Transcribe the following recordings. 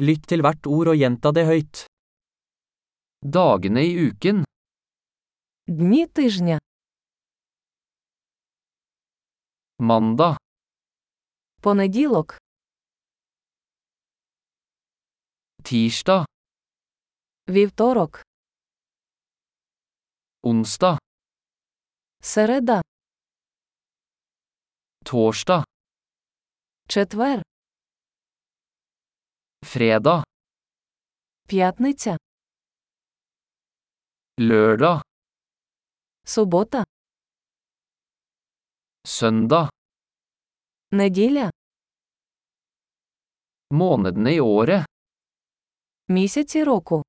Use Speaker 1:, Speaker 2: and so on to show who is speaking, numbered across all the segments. Speaker 1: Lytt til hvert ord og gjenta det høyt. Dagene i uken.
Speaker 2: Дні тижня.
Speaker 1: Mandag,
Speaker 2: Понеділок,
Speaker 1: tirsdag,
Speaker 2: вівторок,
Speaker 1: onsdag,
Speaker 2: середа,
Speaker 1: torsdag,
Speaker 2: четвер,
Speaker 1: fredag,
Speaker 2: п'ятниця,
Speaker 1: lørdag,
Speaker 2: субота,
Speaker 1: søndag.
Speaker 2: неділя,
Speaker 1: Månedene i året.
Speaker 2: місяці року.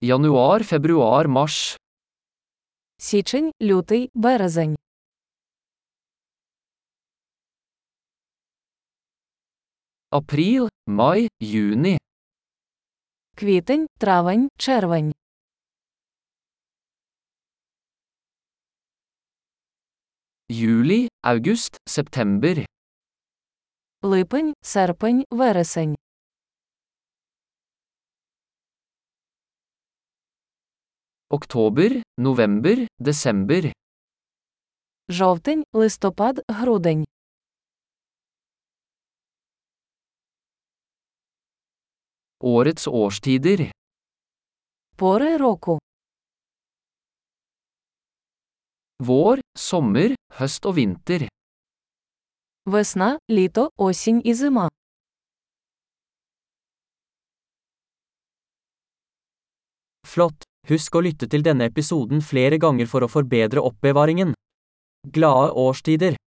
Speaker 1: Januar, februar, mars.
Speaker 2: Січень, лютий, березень.
Speaker 1: April, mai, juni.
Speaker 2: Квітень, травень, червень.
Speaker 1: Juli, august, september.
Speaker 2: Липень, серпень, вересень.
Speaker 1: Oktober, november, desember.
Speaker 2: Жовтень, листопад, грудень.
Speaker 1: Årets årstider.
Speaker 2: Пори року.
Speaker 1: Vår, sommer, høst og vinter.
Speaker 2: Весна, літо, осінь і зима.
Speaker 1: Flott! Husk å lytte til denne episoden flere ganger for å forbedre oppbevaringen. Glade årstider!